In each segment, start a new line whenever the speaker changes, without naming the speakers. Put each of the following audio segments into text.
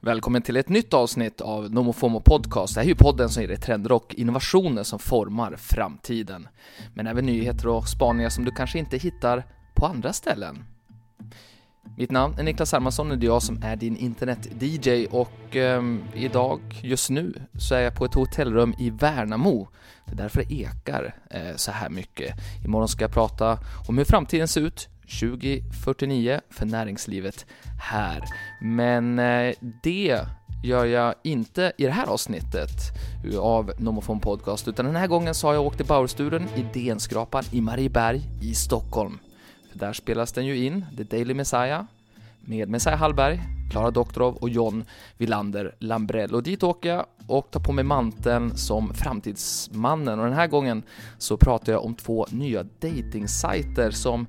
Välkommen till ett nytt avsnitt av NomoFomo Podcast. Det här är ju podden som ger dig trender och innovationer som formar framtiden. Men även nyheter och spaningar som du kanske inte hittar på andra ställen. Mitt namn är Niklas Hermansson och det är jag som är din internet-DJ och ehm, idag, just nu, så är jag på ett hotellrum i Värnamo. Det är därför det ekar eh, så här mycket. Imorgon ska jag prata om hur framtiden ser ut 2049 för näringslivet här. Men eh, det gör jag inte i det här avsnittet av Nomofon Podcast, utan den här gången så har jag åkt till Bauersturen i DN-skrapan i Marieberg i Stockholm. För där spelas den ju in, The Daily Messiah, med Messiah Hallberg, Klara Doktorov och John Villander Lambrell. Och dit åker jag och tar på mig manteln som framtidsmannen. Och den här gången så pratar jag om två nya datingsajter som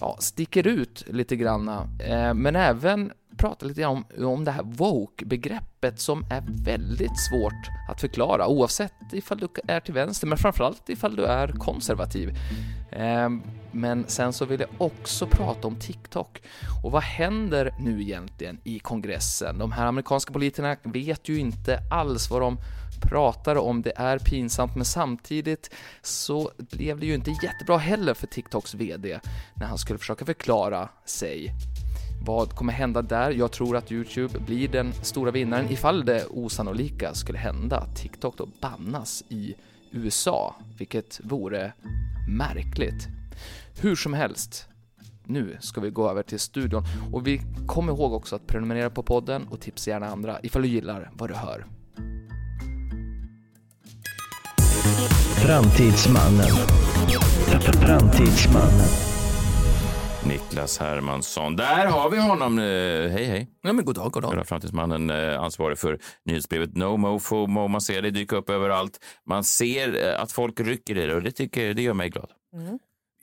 ja, sticker ut lite granna. Eh, men även prata lite grann om, om det här woke-begreppet som är väldigt svårt att förklara oavsett ifall du är till vänster men framförallt ifall du är konservativ. Eh, Men sen så vill jag också prata om TikTok och vad händer nu egentligen i kongressen? De här amerikanska politikerna vet ju inte alls vad de pratar om. Det är pinsamt, men samtidigt så blev det ju inte jättebra heller för TikToks VD när han skulle försöka förklara sig. Vad kommer hända där? Jag tror att Youtube blir den stora vinnaren ifall det osannolika skulle hända. TikTok då bannas i USA, vilket vore märkligt. Hur som helst, nu ska vi gå över till studion och vi kom ihåg också att prenumerera på podden och tipsa gärna andra ifall du gillar vad du hör.
Framtidsmannen. Framtidsmannen.
Niklas Hermansson. Där har vi honom. Eh, Hej, hej.
Ja, men god dag, god dag.
Jag är Framtidsmannen, eh, ansvarig för nyhetsbrevet No Mo FOMO. Man ser det dyka upp överallt. Man ser eh, att folk rycker i det och det, tycker, det gör mig glad.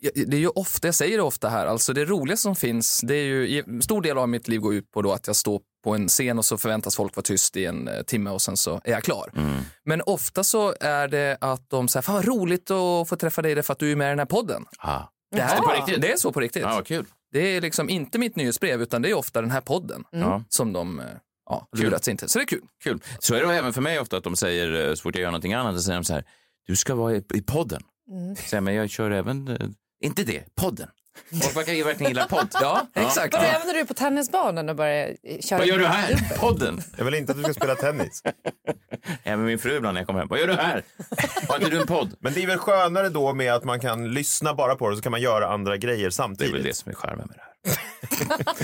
Ja, det är ju ofta, jag säger det ofta här, alltså det roligaste som finns, det är ju, en stor del av mitt liv går ut på då att jag står på en scen och så förväntas folk vara tyst i en eh, timme och sen så är jag klar.
Mm.
Men ofta så är det att de säger, fan vad roligt att få träffa dig därför att du är med i den här podden.
Ah.
Det, här,
Är det på riktigt?
det är så på riktigt.
Ja, vad kul.
Det är liksom inte mitt nyhetsbrev utan det är ofta den här podden
Ja,
som de eh, ja, lurats in till. Så det är kul.
kul. Så är det även för mig ofta att de säger, eh, så fort jag gör någonting annat, så säger de så här, du ska vara i, i podden. Säger, men jag kör även, eh, inte det, podden. Folk verkar ju verkligen gilla podd.
Ja, exakt.
Vadå, även när du är på tennisbanan och börjar eh, köra...
Vad gör du här? Podden.
Jag vill inte att du ska spela tennis.
Även min fru ibland när jag kommer hem. Vad gör du här? Har inte du en podd?
Men det är väl skönare då med att man kan lyssna bara på det så kan man göra andra grejer
Det är väl
samtidigt.
det som är charmen med det här.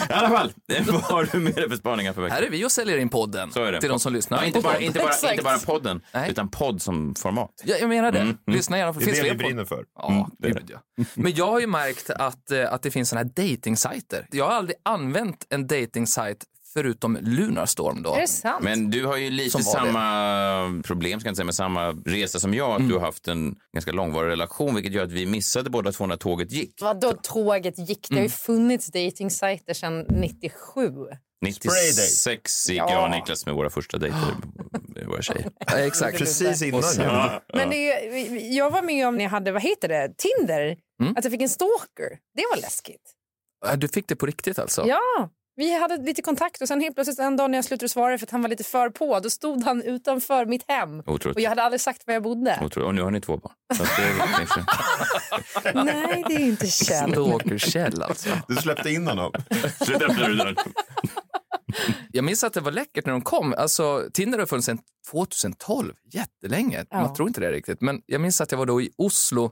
I alla fall, vad har du med dig för spaningar för veckan?
Här är vi och säljer in podden
Så är det.
till de som lyssnar.
Ja, inte, bara, inte, bara,
Exakt.
inte bara podden,
Nej.
utan podd som format.
Ja, jag menar det.
Mm,
Lyssna gärna för
Det är
finns
det vi
fler poddar.
brinner för.
Ja, gud ja. Men jag har ju märkt att, eh, att det finns såna här datingsajter. Jag har aldrig använt en datingsajt förutom Lunarstorm då.
Är det sant?
Men du har ju lite
Som var det.
samma problem, ska jag inte säga, men samma resa som jag. Att
Mm.
Du har haft en ganska långvarig relation, vilket gör att vi missade båda två när tåget gick.
Vadå tåget gick? Det har ju funnits datingsajter sedan 97.
96 gick jag och Niklas med våra första dejter med våra tjejer.
Ja, Exakt.
Precis innan.
Och sen-
ja.
Men det, jag var med om när jag hade, vad heter det, Tinder. Att jag fick en stalker. Det var läskigt.
Ja, Du fick det på riktigt alltså?
Ja, vi hade lite kontakt och sen helt plötsligt en dag när jag slutade svara för att han var lite för på, då stod han utanför mitt hem. Och
Otroligt.
jag hade aldrig sagt var jag bodde.
Otroligt. Och nu har ni två barn. Så att det kanske-
Nej, det är inte känt.
Stalker-Kjell alltså.
Du släppte in honom.
Sluta öppna dörren.
Jag minns att det var läckert när de kom. Alltså, Tinder har funnits sedan 2012, jättelänge.
Ja.
Man tror inte det riktigt. Men jag minns att jag var då i Oslo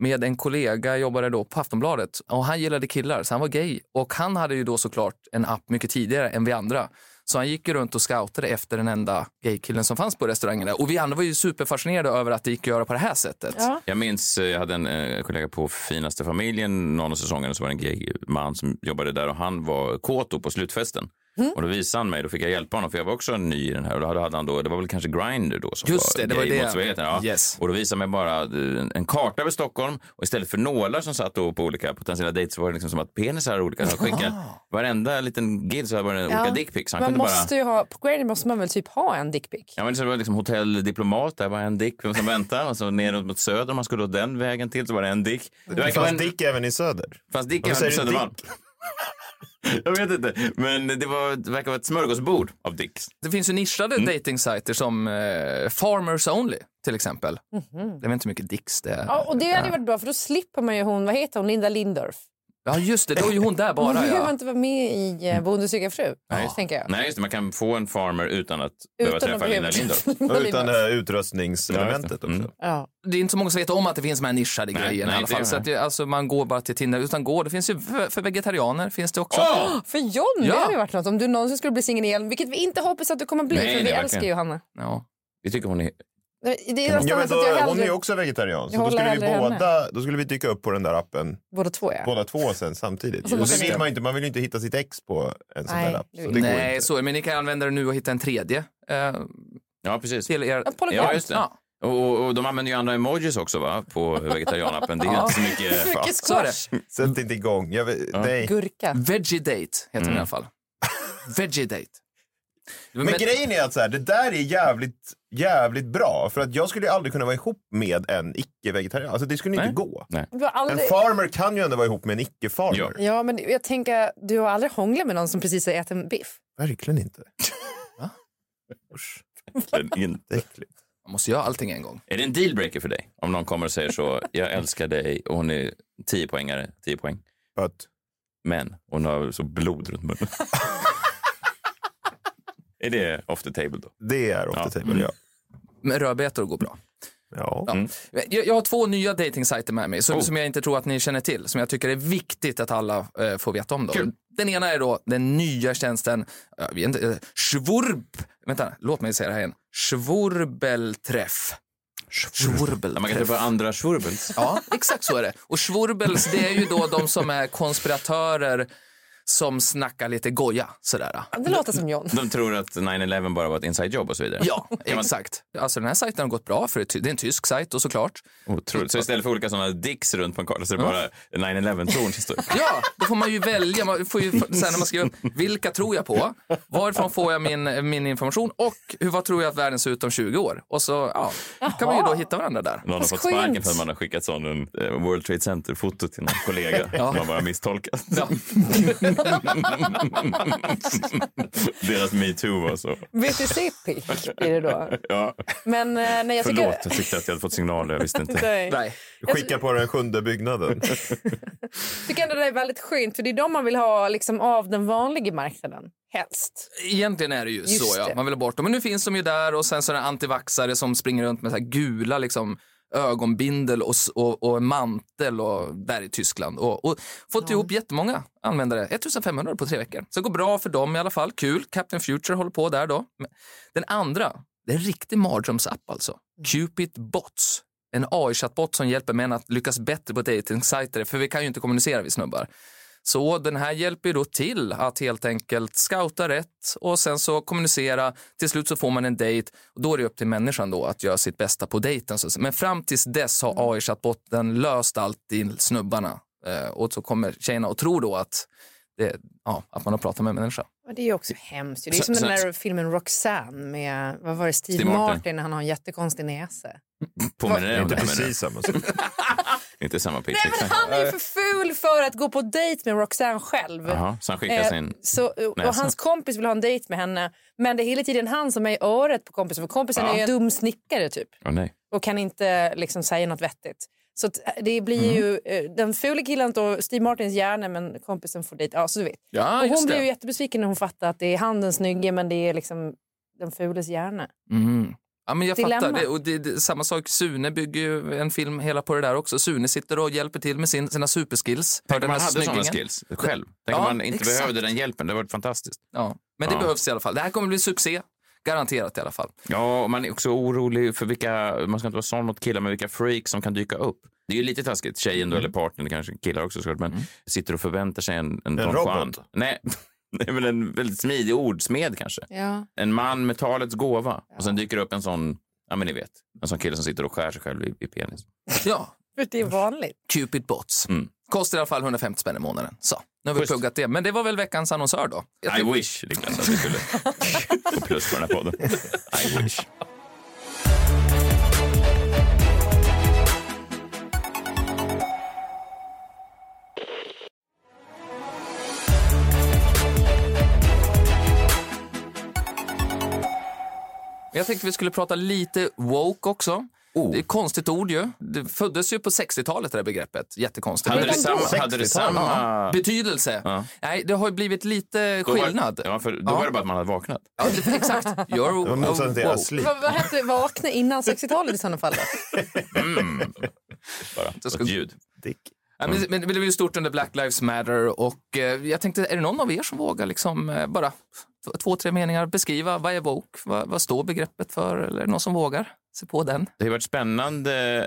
med en kollega, jag jobbade då på Aftonbladet. Och han gillade killar, så han var gay. Och han hade ju då såklart en app mycket tidigare än vi andra. Så han gick ju runt och scoutade efter den enda gaykillen som fanns på restaurangen. där. Och vi andra var ju superfascinerade över att det gick att göra på det här sättet.
Ja.
Jag minns, eh, jag hade en eh, kollega på Finaste familjen någon av säsongerna så var det en gay man som jobbade där och han var kåt då på slutfesten.
Mm.
Och då visade han mig, då fick jag hjälpa honom för jag var också ny i den här och då hade- hade han då, det var väl kanske Grindr då som
Just det, det var det.
gaymotsvarigheten, Ja.
Yes.
Och då visade han mig bara eh, en karta över Stockholm och istället för nålar som satt då på olika potentiella dejter så var det liksom som att penisar hade olika. Han skickade varenda liten gill så hade det olika dickpics. Han
Man
kunde bara...
måste ju ha, på Grindr måste man väl typ ha en dickpic?
Ja, men så var det liksom hotell diplomat, där var en dick som väntade och så neråt mot söder om man skulle då den vägen till så var det en dick. Det
Det
verkar vara en
fanns Dick även i söder.
Fast Dick är
Varför
väl på
säger du
Södermalm? Jag vet inte, men det, var, det verkar vara ett smörgåsbord av dicks.
Det finns ju nischade datingsajter som eh, Farmers Only till exempel. Det är väl inte så mycket dicks det.
Mhm. Ja, och det hade ju varit bra för då slipper man ju hon, vad heter hon, Linda Lindorff.
Ja just det, då är ju hon där
Hon
bara
behöver
ja.
inte vara med i eh, Bonde söker fru, tänker jag.
Nej, just det, man kan få en farmer utan att behöva träffa Linda Lindorff.
Och utan eh, det
Lindorff.
här utrustningselementet
Mm.
också.
Ja.
Det är inte så många som vet om att det finns de här nischade
Nej,
grejerna
nej,
i alla
det är
fall.
det.
Så att det, alltså, man går bara till Tinder utan går. Det finns ju för, för vegetarianer finns det också.
Åh!
För John, det
Ja.
hade ju varit något om du någonsin skulle bli singel igen, vilket vi inte hoppas att du kommer bli,
Nej,
för
nej,
vi
verkligen.
älskar ju Hanna.
Ja.
Vi tycker hon är...
Det är nästan
Ja, men
så
då, eh,
att jag
hon är
hellre...
ju också vegetarian, så
Jag
då skulle, vi
håller hellre
båda, då skulle vi dyka upp på den där appen
Båda två ja.
båda två sen samtidigt.
Och så
Och det
måste
vill
ni-
man ju inte, man vill ju inte hitta sitt ex på en sån
Nej,
där app.
det
Så
vill
det går ju
Nej,
inte.
så, men ni kan använda det nu och hitta en tredje eh,
Ja, precis.
till er.
Polygram.
Ja, just det.
Ja.
Och, och de använder ju andra emojis också va? på vegetarianappen. Det är ju inte så mycket...
Mycket
Så är det.
squash.
Sätt inte igång. Jag vet, nej.
Gurka.
Veggie date heter den
Mm.
i alla fall. Veggie date. Men,
Men grejen är att så här, det där är jävligt, jävligt bra. För att jag skulle ju aldrig kunna vara ihop med en icke-vegetarian. Alltså det skulle inte
Nej.
gå.
Du har
En
aldrig...
farmer kan ju ändå vara ihop med en icke-farmer.
Ja.
Ja, men jag tänker, du har aldrig hånglat med någon som precis har ätit en biff?
Verkligen inte.
Usch.
Det är äckligt.
Man måste göra allting en gång.
Är det en dealbreaker för dig? Om någon kommer och säger så, jag älskar dig och hon är 10 poängare, 10 poäng.
But,
Men hon har så blod runt munnen. är det off the table då?
det är ofta
Ja.
table, ja.
Men rödbetor går bra.
ja.
Ja. Jag, jag har två nya datingsajter med mig som,
Oh.
som jag inte tror att ni känner till, som jag tycker är viktigt att alla eh, får veta om. Då.
Kul.
Den ena är då den nya tjänsten eh, vi vet inte, eh, Schwurb. Vänta, låt mig säga det här igen. Schwurbelträff.
Ja, man kan typ
Schwurbelträff.
träffa andra schwurbels.
Ja, exakt så är det. Och schwurbels, det är ju då de som är konspiratörer som snackar lite goja sådär.
Det låter som John.
De tror att 9-11 bara var ett inside job och så vidare.
Ja, exakt. Alltså den här sajten har gått bra, för det är ty- det är en tysk sajt och såklart.
Otroligt. Så istället för olika sådana dicks runt på en karta så är det bara 9-11-torn som står
Ja, då får man ju välja. Man får ju, sen när man skriver upp, vilka tror jag på? Varifrån får jag min, min information? Och hur, vad tror jag att världen ser ut om 20 år? Och så ja, kan man ju då hitta varandra där.
Någon har
Vad
fått sparken
skönt.
för att man har skickat sån en eh, World Trade Center-foto till någon kollega.
Ja.
som Man bara misstolkat.
Ja.
Deras metoo var så.
VTC-pick blir det då.
Ja.
Men eh, nej, jag
Förlåt,
tycker...
jag tyckte att jag hade fått signaler. Jag visste inte.
Nej.
Nej.
Skicka på den sjunde byggnaden.
Jag tycker ändå det är väldigt skönt, för det är de man vill ha liksom, av den vanliga marknaden. Helst.
Egentligen är det ju
Just
så, ja.
det.
man vill ha bort dem. Men nu finns de ju där och sen så är det antivaxare som springer runt med så här gula liksom, ögonbindel och, s- och, och mantel och där i Tyskland. Och, och fått ihop jättemånga användare, 1500 på tre veckor. Så det går bra för dem i alla fall, kul. Captain Future håller på där då. Men Den andra, det är en riktig mardrömsapp alltså.
Mm.
Cupid Bots. En AI-chattbot som hjälper män att lyckas bättre på dejtingsajter, för vi kan ju inte kommunicera vi snubbar. Så den här hjälper ju då till att helt enkelt scouta rätt och sen så kommunicera. Till slut så får man en dejt och då är det upp till människan då att göra sitt bästa på dejten. så att säga. Men fram tills dess
Mm.
har AI-chattbotten löst allt i snubbarna Eh, och så kommer tjejerna och tror då att, det, ja, att man har pratat med en människa.
Men det är ju också hemskt. ju. Det är ju
Så-
som den
så-
där filmen Roxanne med vad var det, Steve,
Steve Martin.
Martin. när han har en jättekonstig näsa.
Påminner dig om
Inte
det? här, menar du?
precis samma sak.
Inte samma pitch.
Nej, men
exakt.
han är ju för ful för att gå på dejt med Roxanne själv.
Jaha, så han skickar
Eh,
sin...
så, och
näsa.
hans kompis vill ha en dejt med henne men det är hela tiden han som är i örat på kompisen för kompisen
Ja.
är ju en dum snickare typ
Åh nej.
och kan inte liksom, säga något vettigt. Så att, eh, det blir
Mm.
ju eh, den fula killen och Steve Martins hjärna men kompisen får dejt. Ja, så du vet.
Ja,
och hon blir ju jättebesviken när hon fattar att det är han den snygge men det är liksom den fules hjärna.
Mm. Ja, men jag
Dilemma.
fattar. Det, och det, det, samma sak, Sune bygger ju en film hela på det där också. Sune sitter och hjälper till med sin, sina superskills. Hör
Tänk om
den
man
här
hade sådana
snyggingen.
skills själv. Tänk om
Ja,
man inte
exakt.
behövde den hjälpen. Det hade varit fantastiskt.
Ja. Men det
Ja.
behövs i alla fall. Det här kommer bli succé. Garanterat i alla fall.
Ja, och man är också orolig för vilka, man ska inte vara sån mot killar, men vilka freaks som kan dyka upp. Det är ju lite taskigt, tjejen då,
Mm.
eller partnern, kanske killar också såklart, men sitter och förväntar sig en, en, Don
robot?
Juan. Nej, nej, men en väldigt smidig ordsmed kanske.
Ja.
En man med talets gåva. Och sen dyker det upp en sån, ja men ni vet, en sån kille som sitter och skär sig själv i, i penis.
Ja,
För det är vanligt.
Cupid Bots.
Mm.
Kostar i alla fall 150 spänn i månaden. Så, nu har vi
Schysst.
pluggat det. Men det var väl veckans annonsör då? Jag
I
tycker-
wish, Niklas, att vi skulle få plus på den här podden. I wish.
Jag tänkte vi skulle prata lite woke också.
Oh.
Det är ett konstigt ord ju. Det föddes ju på 60-talet det här begreppet. Jättekonstigt.
Hade det
Redan
samma...
då?
Hade det samma...
Ja. Betydelse.
Ja.
Nej, det har ju blivit lite
Då var-
skillnad.
Ja, för då var det bara att man hade vaknat.
Ja, det- exakt. You're
Det var motsatsen till
woke.
asleep.
Vad, vad hette vakna innan 60-talet i sådana fall? då?
Bara.
Det ska-
Ett ljud.
Dick.
Ja, men, men det blev ju stort under Black Lives Matter och eh, jag tänkte, är det någon av er som vågar liksom eh, bara t- två, tre meningar beskriva vad är woke? Vad, vad står begreppet för? Eller är det någon som vågar se på den?
Det har varit spännande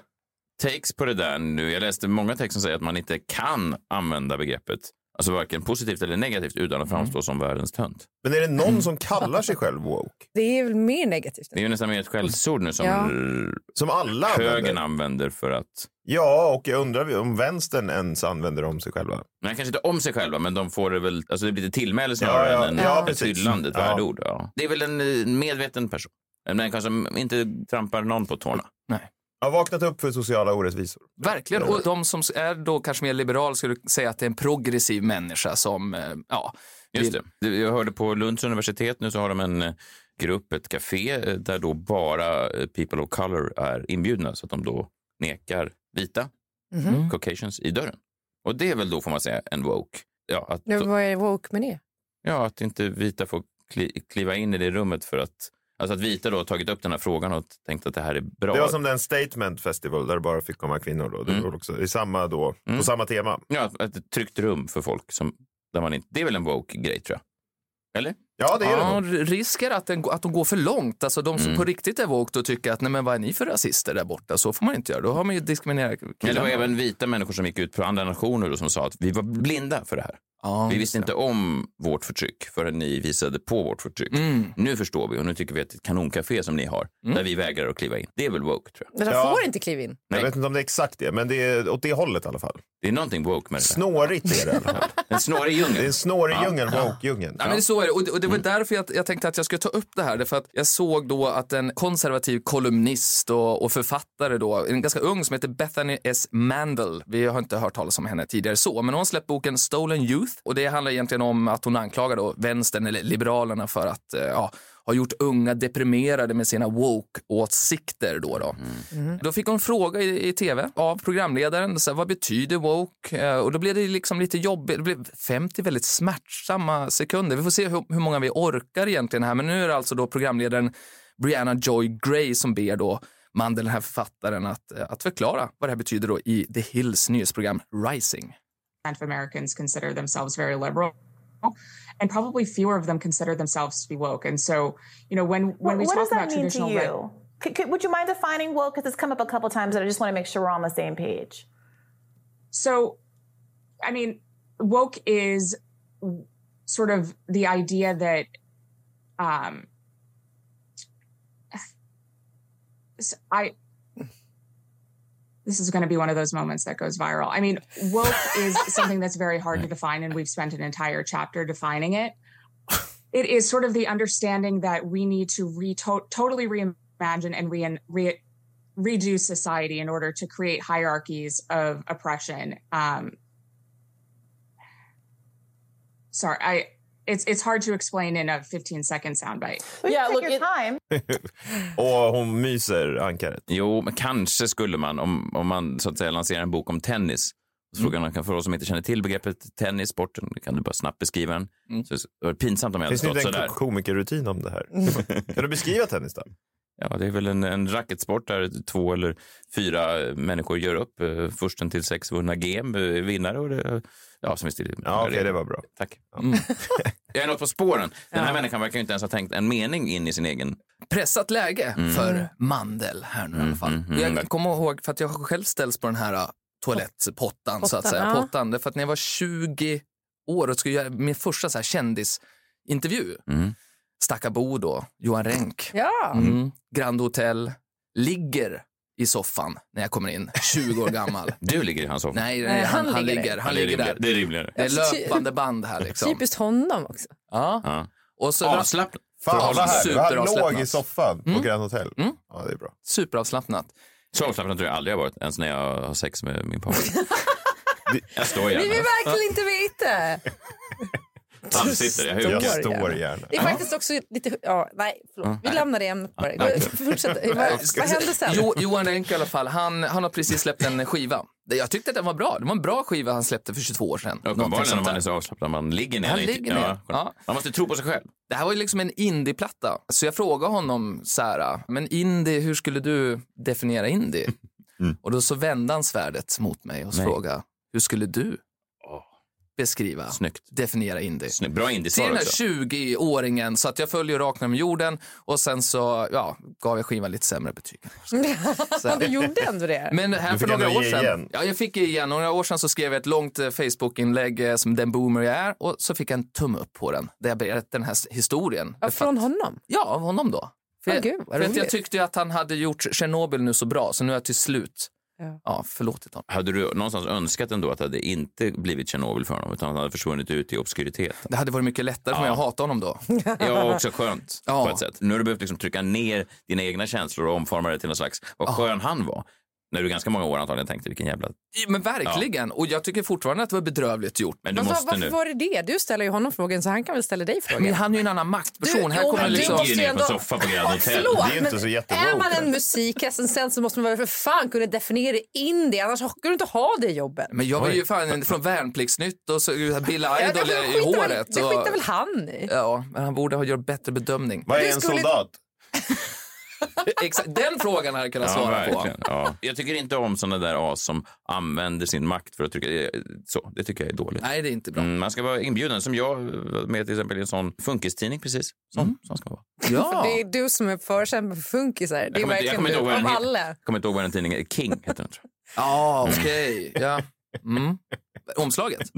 takes på det där nu. Jag läste många texter som säger att man inte kan använda begreppet, alltså varken positivt eller negativt, utan att framstå som världens tönt.
Men är det någon som kallar sig själv woke?
Det är väl mer negativt?
Det är ju nästan mer ett skällsord nu som
Ja.
r-
Som alla
högern
använder?
använder för att,
Ja, och jag undrar om vänstern ens använder om sig själva.
nej kanske inte om sig själva, men de får det väl, alltså det blir lite tillmäle snarare
Ja, ja.
än
Ja,
en, ett
precis.
hyllande, ett
Ja.
värdeord. Ja. Det är väl en eh, medveten person. Men kanske som inte trampar någon på tårna.
Jag har vaknat upp för sociala orättvisor.
Verkligen. Och de som är då kanske mer liberal skulle säga att det är en progressiv människa som, eh, ja,
Just det. Det- Jag hörde på Lunds universitet nu så har de en eh, grupp, ett café eh, där då bara eh, people of color är inbjudna så att de då nekar vita
Mhm.
caucasians i dörren. Och det är väl då får man säga en woke. Ja, att,
Nu, vad är woke med det?
ja, att inte vita får kli, kliva in i det rummet för att Alltså att vita då har tagit upp den här frågan och tänkt att det här är bra.
Det var som den statement festival där det bara fick komma kvinnor. Då. Det
Mm.
var också, i samma då,
Mm.
På samma tema.
Ja, ett- ett tryggt rum för folk. Som, där man inte, det är väl en woke-grej tror jag? Eller?
Ja, det är det
Ah,
ja,
nog.
risker att, den, att de går för långt. Alltså de som
Mm.
på riktigt är woke och tycker att nej men vad är ni för rasister där borta? Så får man inte göra. Då har man ju diskriminerat
Men det var
killarna.
även vita människor som gick ut på andra nationer och som sa att vi var blinda för det här.
Ja,
Vi
just
visste
det.
inte om vårt förtryck förrän ni visade på vårt förtryck.
Mm.
Nu förstår vi och nu tycker vi att det är ett kanoncafé som ni har,
Mm.
där vi vägrar att kliva in. Det är väl woke, tror jag.
Men de
Ja.
får inte kliva in.
Jag
Nej.
vet inte om det är exakt det, men det är åt det hållet i alla fall.
Det är någonting woke med det där.
Snårigt är det i alla fall.
En snårig
Det är
djungel.
en snårig djungel, woke-djungeln.
Ja, men så är det. Och det, och det var därför jag, jag tänkte att jag skulle ta upp det här. Därför att jag såg då att en konservativ kolumnist och, och författare då, en ganska ung som heter Bethany S. Mandel. Vi har inte hört talas om henne tidigare så, men hon har släppt boken Stolen Youth och det handlar egentligen om att hon anklagar då vänstern eller liberalerna för att eh, ja, ha gjort unga deprimerade med sina woke-åsikter. Då, då. då fick hon fråga i, i tv av programledaren, så här, vad betyder woke? Eh, och då blev det liksom lite jobbigt, det blev 50 väldigt smärtsamma sekunder. Vi får se hur, hur många vi orkar egentligen här, men nu är det alltså då programledaren Brianna Joy Gray som ber då Mandel, den här författaren, att, eh, att förklara vad det här betyder då i The Hills nyhetsprogram Rising.
percent of Americans consider themselves very liberal, and probably fewer of them consider themselves to be woke. And so, you know, when when we
what
talk
does that
about
mean to
traditional
you?
red-
Could- could- would you mind defining woke? Because it's come up a couple times, and I just want to make sure we're on the same page.
so I mean, woke is w- sort of the idea that um s- I this is going to be one of those moments that goes viral. I mean, woke is something that's very hard to define and we've spent an entire chapter defining it. It is sort of the understanding that we need to re- to- totally reimagine and re- re- redo society in order to create hierarchies of oppression. Um, sorry, I it's it's hard to explain in a 15 second soundbite.
But
Yeah,
you take
look,
your
it-
time.
Och hon myser ankaret.
Jo, men kanske skulle man, om, om man så att säga lanserar en bok om tennis, så
Mm.
frågar man kan för oss som inte känner till begreppet tennis, sporten, kan du bara snabbt beskriva den? Så, så, det var pinsamt om jag hade
Mm. Finns det
stått
inte
sådär. Mm.
en komikerrutin om det här? Kan du beskriva tennis då?
Ja, det är väl en, en racketsport där två eller fyra människor gör upp. Eh, Försten till sex vunna game eh, är vinnare. Och det, ja, som visst är det.
Ja, okej, det var bra.
Tack.
Mm.
Jag är något på spåren. Den här människan verkar ju inte ens ha tänkt en mening in i sin egen.
pressat läge för Mandel här nu i alla fall.
mm, mm.
Jag kommer ihåg, för att jag har själv ställs på den här äh, toalettpottan så att
Pottan,
säga.
ja.
Pottan, därför att när jag var 20 år och skulle göra min första så här kändisintervju,
Mm.
Stackabo då, Johan Renck,
Ja.
mm. Grand Hotel, ligger i soffan när jag kommer in, 20 år gammal.
Du ligger i hans soffa.
Nej,
Nej,
han,
han
han
ligger
ligger,
där.
han
det, är
ligger
rimligare.
där.
det är rimligare.
Det är
Alltså, ty-
löpande band här liksom.
Typiskt honom också.
Ja.
Ja.
Och så
Avslappnat.
Fan vad här. Han låg i
Superavslappnat.
soffan
Mm.
på Grand Hotel. Ja, det är bra.
Superavslappnat.
Så avslappnad tror jag aldrig jag har varit, ens när jag har sex med min partner. jag står
Vi vill
gärna.
verkligen inte veta.
Tam sitter jag
Jag
hukar.
står gärna.
Det är faktiskt också lite... Ja, nej, förlåt. Vi lämnar det ämnet bara. Gå- Fortsätt. Vad, vad hände sen?
Jo, Johan Renck i alla fall, han, han har precis släppt en skiva. Jag tyckte att den var bra. Det var en bra skiva han släppte för 22 år sedan. Någonting
Uppenbarligen
sånt
om man
där.
är så avslappnad. Man ligger ner.
Han
i-
ligger ner. Ja.
Man måste tro på sig själv.
Det här var ju liksom en indieplatta. Så jag frågade honom så här, men indie, hur skulle du definiera indie? Och då så vände han svärdet mot mig och
Mm. Nej.
frågade, hur skulle du beskriva,
Snyggt.
definiera indie?
Snyggt. Bra
Det är
indiesvar
den här
också.
20-åringen, så att jag följer rakt ner med jorden och sen så ja, gav jag skivan lite sämre betyg.
Ja, du gjorde ändå det.
Men här
Du
för
fick
några
ändå
år
ge
sedan,
igen.
Ja, jag fick ge igen. Och några år sedan så skrev jag ett långt eh, Facebook-inlägg eh, som den boomer jag är och så fick jag en tumme upp på den där jag berättade den här s- historien.
Ja, från honom?
Ja, av honom då. För,
Åh,
jag,
gud, vad
för att jag
roligt.
tyckte ju att han hade gjort Tjernobyl nu så bra, så nu är jag till slut
Ja.
ja, förlåtit honom.
Hade du någonstans önskat ändå att det hade inte blivit Tjernobyl för honom utan att han hade försvunnit ut i obskuriten?
Det hade varit mycket lättare om jag hatade honom då.
Ja, också skönt
Ja.
på ett sätt. Nu har du behövt liksom trycka ner dina egna känslor och omforma det till någon slags, vad skön han var. När du ganska många år antagligen tänkte vilken jävla...
Men verkligen, och jag tycker fortfarande att det var bedrövligt gjort.
Men du
Men Alltså, vad-
måste
varför
nu.
var det det? Du ställer ju honom frågan så han kan väl ställa dig frågan.
Men han är ju en annan maktperson.
Du-
här
jo,
kommer
men du
liksom...
Ligger ju ner på
måste ju
en
ändå-
soffa på Grand Hotel.
Förlåt,
Det är ju inte
men
så jättewoke.
är man en musikrecensent så måste man väl för fan kunna definiera in det, annars kan du inte ha det jobbet.
Men jag var ju fan från Värnpliktsnytt och så Bill
Ja,
Idol
det
i
skitar väl-
håret.
Det
och-
skitar väl han i?
Ja, men han borde ha gjort bättre bedömning.
Vad
Du
är en
skulle-
soldat?
Exakt, den frågan hade jag kunnat
Ja,
svara på.
verkligen. Ja. Jag tycker inte om såna där as som använder sin makt för att trycka... eh, Så, det tycker jag är dåligt.
Nej, det är inte bra.
Mm, man ska vara inbjuden, som jag var med till exempel i en sån funkistidning precis. Sån,
Mm.
sån ska man vara.
Ja.
Alltså, Det är du som är förkämpe för funkisar. Det
kommer
är
inte- jag
verkligen
kommer inte
du.
ihåg vad den
Av
heter.
alla.
Jag kommer inte ihåg vad den tidningen är. King heter den, tror jag.
Ja, okej. Ja. Mm. Omslaget.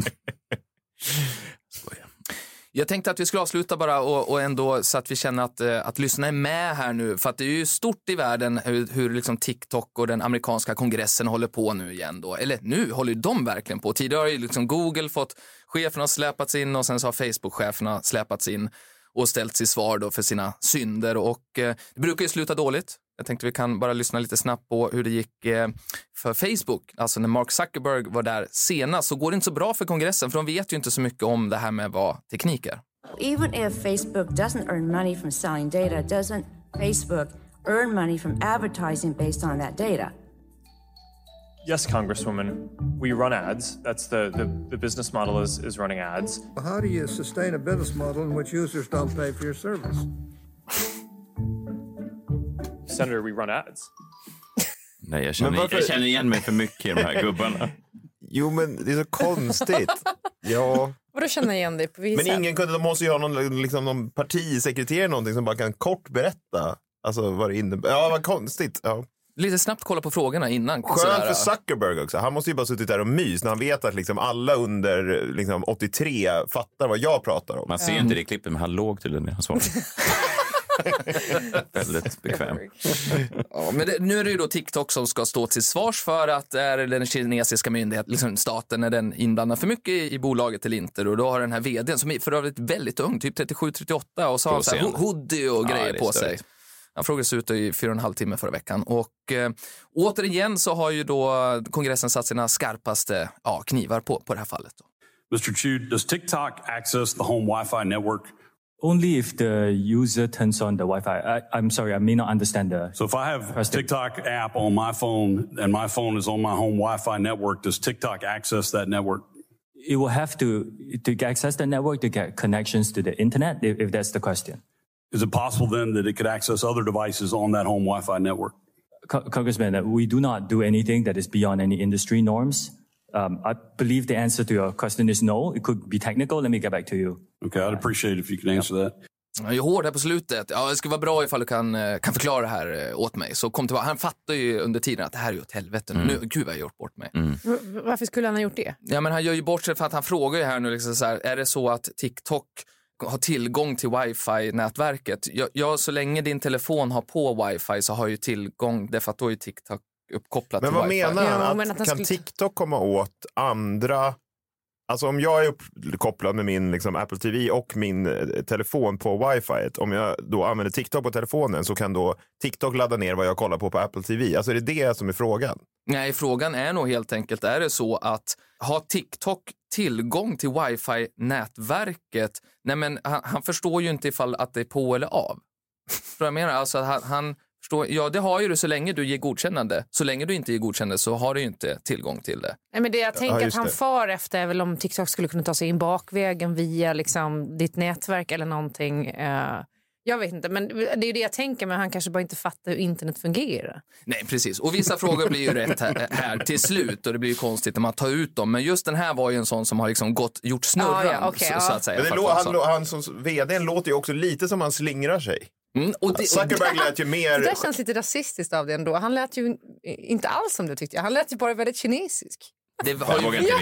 Jag tänkte att vi skulle avsluta bara och, och ändå så att vi känner att, eh, att lyssna är med här nu. För att det är ju stort i världen hur, hur liksom TikTok och den amerikanska kongressen håller på nu igen då. Eller nu håller ju de verkligen på. Tidigare har ju liksom Google fått, cheferna har släpats in och sen så har Facebook-cheferna släpats in och ställts i svar då för sina synder. Och eh, det brukar ju sluta dåligt. Jag tänkte vi kan bara lyssna lite snabbt på hur det gick eh, för Facebook. Alltså när Mark Zuckerberg var där senast så går det inte så bra för kongressen för de vet ju inte så mycket om det här med vad teknik är.
Even if Facebook doesn't earn money from selling data, doesn't Facebook earn money from advertising based on that data?
Yes, Congresswoman, we run ads. That's the, the, the business model is, is running ads.
How do you sustain a business model in which users don't pay for your service?
Senator, we run ads.
Nej, jag
Men
känner,
varför-
jag känner igen mig för mycket i de här gubbarna.
Jo, men det är så konstigt. ja.
Vadå känna igen dig på
Men
vissa?
ingen kunde, de måste ju ha någon, liksom, någon partisekreterare eller någonting som bara kan kort berätta alltså, vad det innebär. Ja, vad konstigt. Ja.
Lite snabbt kolla på frågorna innan. eh,
Skönt
sådär.
för Zuckerberg också. Han måste ju bara suttit där och mys när han vet att liksom alla under liksom, 83 fattar vad jag pratar om.
Man ser inte det i klippet, men han låg tydligen när han svarade. Väldigt bekväm.
Ja, men det, nu är det ju då TikTok som ska stå till svars för att är den kinesiska myndigheten, liksom staten, är den inblandad för mycket i, i bolaget eller inte? Och då har den här vdn som är för övrigt väldigt ung, typ 37-38 och så har han så här ho-
Provocerande.
hoodie och
Ja,
grejer
det är
på
störigt.
sig. Han frågades ut i fyra och en halv timme förra veckan och eh, återigen så har ju då kongressen satt sina skarpaste ja, knivar på, på det här fallet. Då.
Mr. Chu, does TikTok access the home Wi Fi network?
Only if the user turns on the Wi-Fi. I, I'm sorry, I may not understand the.
So if I have TikTok app on my phone and my phone is on my home Wi Fi network, does TikTok access that network?
It will have to to get access the network to get connections to the internet. If, if that's the question,
Is it possible then that it could access other devices on that home Wi Fi network?
Co- Congressman, uh, we do not do anything that is beyond any industry norms. Um, I believe the answer to your question is no. It could be technical. Let me get back to you.
Okay, I'd appreciate it if you could answer that.
Han är ju hård här på slutet. Ja, det skulle vara bra ifall du kan, eh, kan förklara det här eh, åt mig. Så kom tillbaka. Han fattar ju under tiden att det här är ju åt helvete.
Mm.
Nu, gud vad jag har gjort bort mig.
V- Varför skulle han ha gjort det?
Ja, men han gör ju bort sig för att han frågar ju här nu, liksom så här, är det så att TikTok har tillgång till wifi-nätverket? Ja, ja, så länge din telefon har på wifi så har ju tillgång, därför att då är ju TikTok uppkopplat
Men
till
vad
wifi.
menar han?
Ja,
att,
men att han skulle-
kan TikTok komma åt andra Alltså om jag är uppkopplad med min liksom, Apple TV och min eh, telefon på wifi, om jag då använder TikTok på telefonen så kan då TikTok ladda ner vad jag kollar på på Apple TV. Alltså är det det som är frågan?
Nej, frågan är nog helt enkelt, är det så att har TikTok tillgång till wifi-nätverket? Nej, men han, han förstår ju inte ifall att det är på eller av. Förstår du vad jag menar? Alltså, han, han förstår, ja, det har ju du så länge du ger godkännande. Så länge du inte ger godkännande så har du ju inte tillgång till det.
Nej, men det jag
Ja,
tänker att
just
han
det.
far efter är väl om TikTok skulle kunna ta sig in bakvägen via liksom, ditt nätverk eller någonting. Eh, jag vet inte, men det är ju det jag tänker. Men han kanske bara inte fattar hur internet fungerar.
Nej, precis. Och vissa frågor blir ju rätt här, här till slut och det blir ju konstigt när man tar ut dem. Men just den här var ju en sån som har liksom gått, gjort snurran,
Ah, Ja, ja, okej,
så,
ja.
så att säga.
Men det
för att
lå-
vara
han
sån.
lå- han som vd låter ju också lite som han slingrar sig.
Mm, och det-
Zuckerberg lät ju
Det
mer...
där känns lite rasistiskt av det ändå. Han lät ju inte alls som du tyckte. jag. Han lät ju bara väldigt kinesisk.
Det
har ju-
Ja,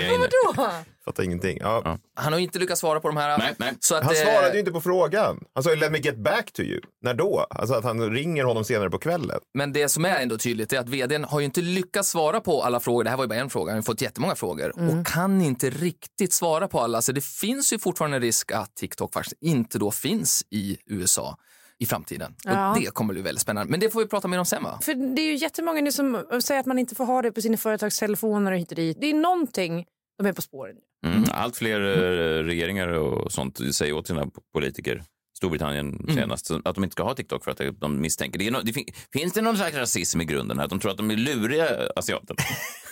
vadå?
Fattar ingenting. Ja.
Han har ju inte lyckats svara på de här. Så att,
han
eh,
svarade ju inte på frågan. Han sa ju let me get back to you. När då? Alltså att han ringer honom senare på kvällen.
Men det som är ändå tydligt är att vdn har ju inte lyckats svara på alla frågor. Det här var ju bara en fråga, han har ju fått jättemånga frågor
Mm.
och kan inte riktigt svara på alla. Så det finns ju fortfarande en risk att TikTok faktiskt inte då finns i USA i framtiden.
Ja.
Och det kommer bli väldigt spännande. Men det får vi prata mer om sen va?
För det är ju jättemånga nu som säger att man inte får ha det på sina företagstelefoner och hit och dit. Det är någonting de är på spåren.
Mm. Allt fler eh, regeringar och sånt säger åt sina politiker, Storbritannien
Mm.
senast, att de inte ska ha TikTok för att de misstänker. Det är no- det fin- finns det någon slags rasism i grunden här? Att de tror att de är luriga asiater?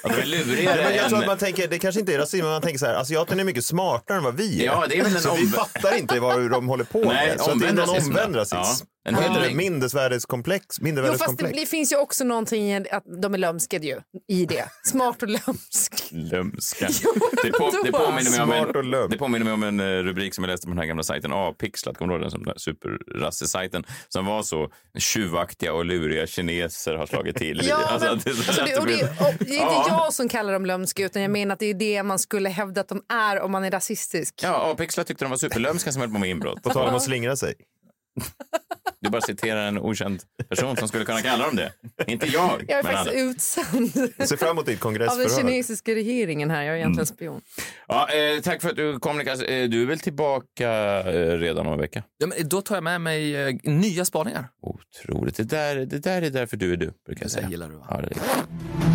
Att de är lurigare
Men jag tror
än...
att man tänker, det kanske inte är rasism, men man tänker så här, asiaterna är mycket smartare än vad vi är.
Ja, det är väl en
så vi
omvä-
fattar inte vad de håller på
Nej,
med. Så att det är
omvänd
någon
rasism,
omvänd
ja.
rasism.
Ja, en
Vad heter det?
hyllning.
Mindervärdeskomplex.
Jo, fast det,
Mindervärdeskomplex.
det finns ju också någonting i att de är lömskade ju, i det. Smart och lömsk.
Lömska.
Jo,
Det, på, det,
vadå?
påminner mig om
Smart och
en, det påminner mig om en eh, rubrik som jag läste på den här gamla sajten Avpixlat. Kommer du ihåg den? Som där superrasse-sajten som var så tjuvaktiga och luriga kineser har slagit till.
Ja,
Alltså,
men-
att det är så
alltså,
lätt
det,
att
och
bli-
det, och det är
Ja.
inte jag som kallar dem lömska utan jag menar att det är det man skulle hävda att de är om man är rasistisk.
Ja, Avpixlat tyckte de var superlömska som höll på med inbrott.
På tal om att slingra sig.
Du bara citerar en okänd person som skulle kunna kalla dem det. Inte jag.
Jag är
men
faktiskt
andra.
utsänd
Jag ser fram emot ditt
av den
kongressförhör.
kinesiska regeringen här. Jag är
Mm.
egentligen spion.
Ja, eh, tack för att du kom, Niklas. Eh, du är väl tillbaka eh, redan om en vecka?
Ja, men då tar jag med mig eh, nya spaningar.
Otroligt. Det där, det där är därför du är du, brukar jag säga. gillar du, va? Ja, det är...